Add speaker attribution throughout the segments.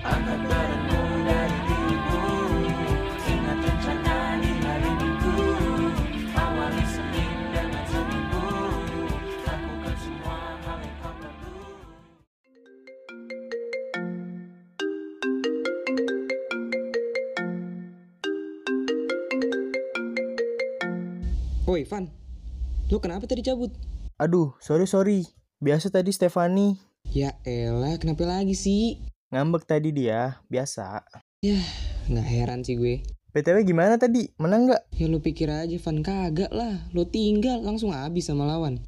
Speaker 1: Amat beratmu dari dirimu Ingat rencana di hari minggu Awali Senin dengan seminggu Lakukan semua hal yang kau perlu
Speaker 2: Woi Van, lu kenapa tadi cabut?
Speaker 3: Aduh, sorry sorry. Biasa tadi Stefani
Speaker 2: Ya elah, kenapa lagi sih?
Speaker 3: ngambek tadi dia, biasa.
Speaker 2: Yah, nggak heran sih gue.
Speaker 3: PTW gimana tadi? Menang nggak?
Speaker 2: Ya lu pikir aja Van kagak lah, lu tinggal langsung habis sama lawan.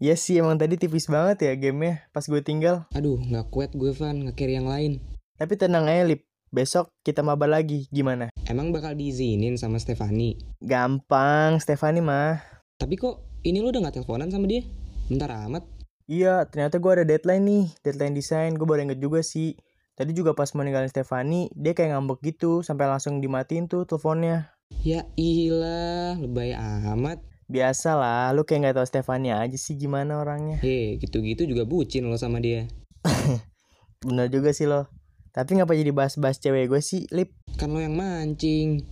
Speaker 3: Iya sih, emang tadi tipis banget ya gamenya pas gue tinggal.
Speaker 2: Aduh, nggak kuat gue Van, nge-carry yang lain.
Speaker 3: Tapi tenang aja, Lip. Besok kita maba lagi, gimana?
Speaker 2: Emang bakal diizinin sama Stefani.
Speaker 3: Gampang, Stefani mah.
Speaker 2: Tapi kok ini lu udah nggak teleponan sama dia? Bentar amat.
Speaker 3: Iya, ternyata gue ada deadline nih. Deadline desain, gue baru inget juga sih. Tadi juga pas mau ninggalin Stefani, dia kayak ngambek gitu, sampai langsung dimatiin tuh teleponnya.
Speaker 2: Ya ilah, lebay amat.
Speaker 3: Biasalah, lu kayak nggak tahu Stefani aja sih gimana orangnya.
Speaker 2: Ye, gitu-gitu juga bucin lo sama dia.
Speaker 3: Bener juga sih lo. Tapi ngapa jadi bahas-bahas cewek gue sih, Lip?
Speaker 2: Kan lo yang mancing.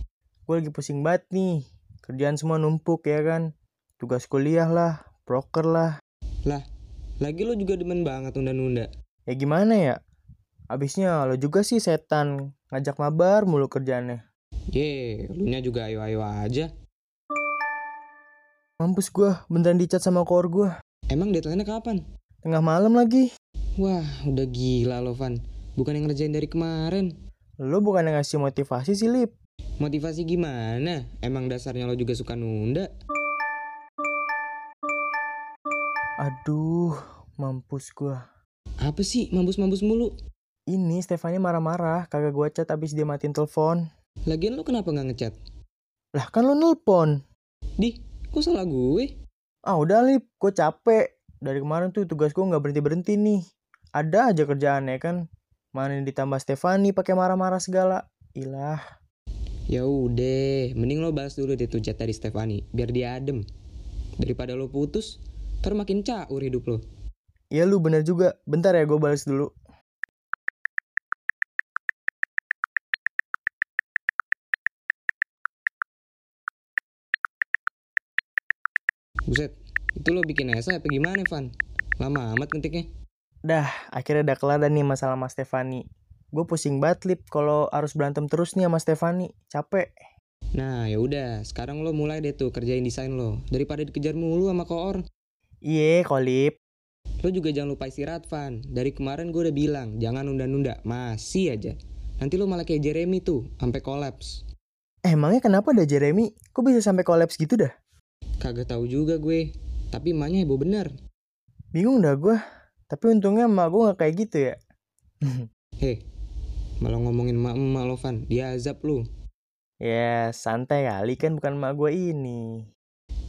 Speaker 3: gue lagi pusing banget nih kerjaan semua numpuk ya kan tugas kuliah lah proker lah
Speaker 2: Lagi lo juga demen banget nunda-nunda.
Speaker 3: ya gimana ya abisnya lo juga sih setan ngajak mabar mulu kerjaannya
Speaker 2: Ye, lu nya juga ayo-ayo aja.
Speaker 3: mampus gua beneran dicat sama kor gua
Speaker 2: Emang deadline-nya kapan?
Speaker 3: tengah malam lagi
Speaker 2: Wah, udah gila lo Van. Bukan yang ngerjain dari kemarin.
Speaker 3: lo bukan yang ngasih motivasi sih lip
Speaker 2: Motivasi gimana? Emang dasarnya lo juga suka nunda?
Speaker 3: aduh mampus gua
Speaker 2: Apa sih mampus-mampus mulu?
Speaker 3: ini Stefani marah-marah kagak gua cat abis dia matiin telepon
Speaker 2: Lagian lo kenapa nggak ngechat?
Speaker 3: lah kan lo nelpon
Speaker 2: Dih, kok salah gue?
Speaker 3: ah udah lip gua capek dari kemarin tuh tugas gua nggak berhenti berhenti nih ada aja kerjaannya kan mana ditambah Stefani pakai marah-marah segala ilah
Speaker 2: Ya udah, mending lo balas dulu deh tuh chat dari Stefani, biar dia adem. Daripada lo putus, ntar makin caur hidup lo.
Speaker 3: Iya lu bener juga. Bentar ya gue balas dulu.
Speaker 2: Buset, itu lo bikin esai apa gimana Van? Lama amat ngetiknya.
Speaker 3: Akhirnya udah kelar dan nih masalah sama Stefani. Gue pusing banget lip kalau harus berantem terus nih sama Stefani. Capek.
Speaker 2: Nah ya udah, sekarang lo mulai deh tuh kerjain desain lo. Daripada dikejar mulu sama koor,
Speaker 3: Iye kolip.
Speaker 2: lo juga jangan lupa istirahat Van. Dari kemarin gue udah bilang jangan nunda-nunda, masih aja. Nanti lo malah kayak Jeremy tuh, sampai kolaps.
Speaker 3: Eh, Emangnya kenapa dah Jeremy? Kok bisa sampai kolaps gitu dah?
Speaker 2: Kagak tahu juga gue, tapi emaknya heboh bener.
Speaker 3: Bingung dah gue. Tapi untungnya emak gue gak kayak gitu ya.
Speaker 2: Heh, malah ngomongin emak-emak lo Van, dia azab lo.
Speaker 3: ya santai kali kan bukan emak gue ini.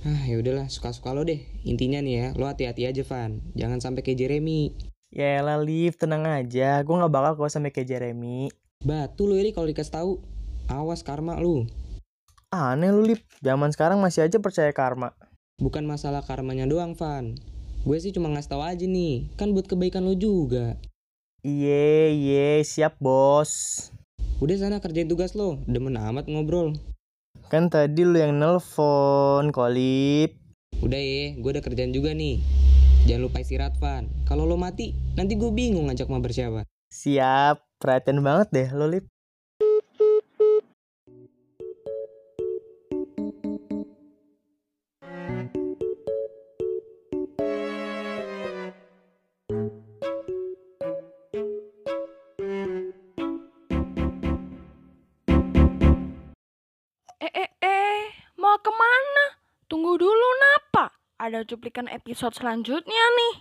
Speaker 2: Ah ya udahlah, suka-suka lo deh. Intinya nih ya, lo hati-hati aja Van, jangan sampai kayak Jeremy.
Speaker 3: Ya elah Lip, tenang aja. Gue gak bakal kok sampai kayak Jeremy.
Speaker 2: Batu lo ini kalau dikasih tahu, awas karma lo.
Speaker 3: Aneh lu Lip, zaman sekarang masih aja percaya karma.
Speaker 2: Bukan masalah karmanya doang, Van. Gue sih cuma ngasih tahu aja nih, kan buat kebaikan lo juga.
Speaker 3: Iye, iye, siap bos.
Speaker 2: Udah sana kerjain tugas lo, demen amat ngobrol.
Speaker 3: Kan tadi lu yang nelpon, Kolip.
Speaker 2: Udah ya, gue udah kerjaan juga nih. Jangan lupa istirahat, Van. Kalau lo mati, nanti gue bingung ngajak mabar siapa.
Speaker 3: Siap, perhatian banget deh lo, Lip.
Speaker 4: Eh, eh, eh, mau kemana? Tunggu dulu napa? Ada cuplikan episode selanjutnya nih.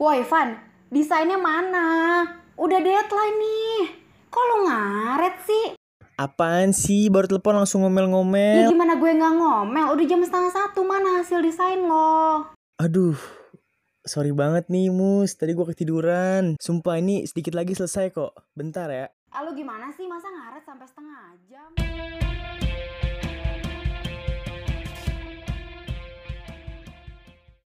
Speaker 5: Woi Van, desainnya mana? Udah deadline nih. Kok lu ngaret sih?
Speaker 3: Apaan sih, baru telepon langsung
Speaker 5: Ya
Speaker 3: ngomel-ngomel.
Speaker 5: gimana gue nggak ngomel? Udah jam setengah satu mana hasil desain lo?
Speaker 3: Aduh, sorry banget nih, Mus. Tadi gua ketiduran. Sumpah, ini sedikit lagi selesai kok. Bentar ya.
Speaker 5: Ah, lu gimana sih masa ngaret sampai setengah jam?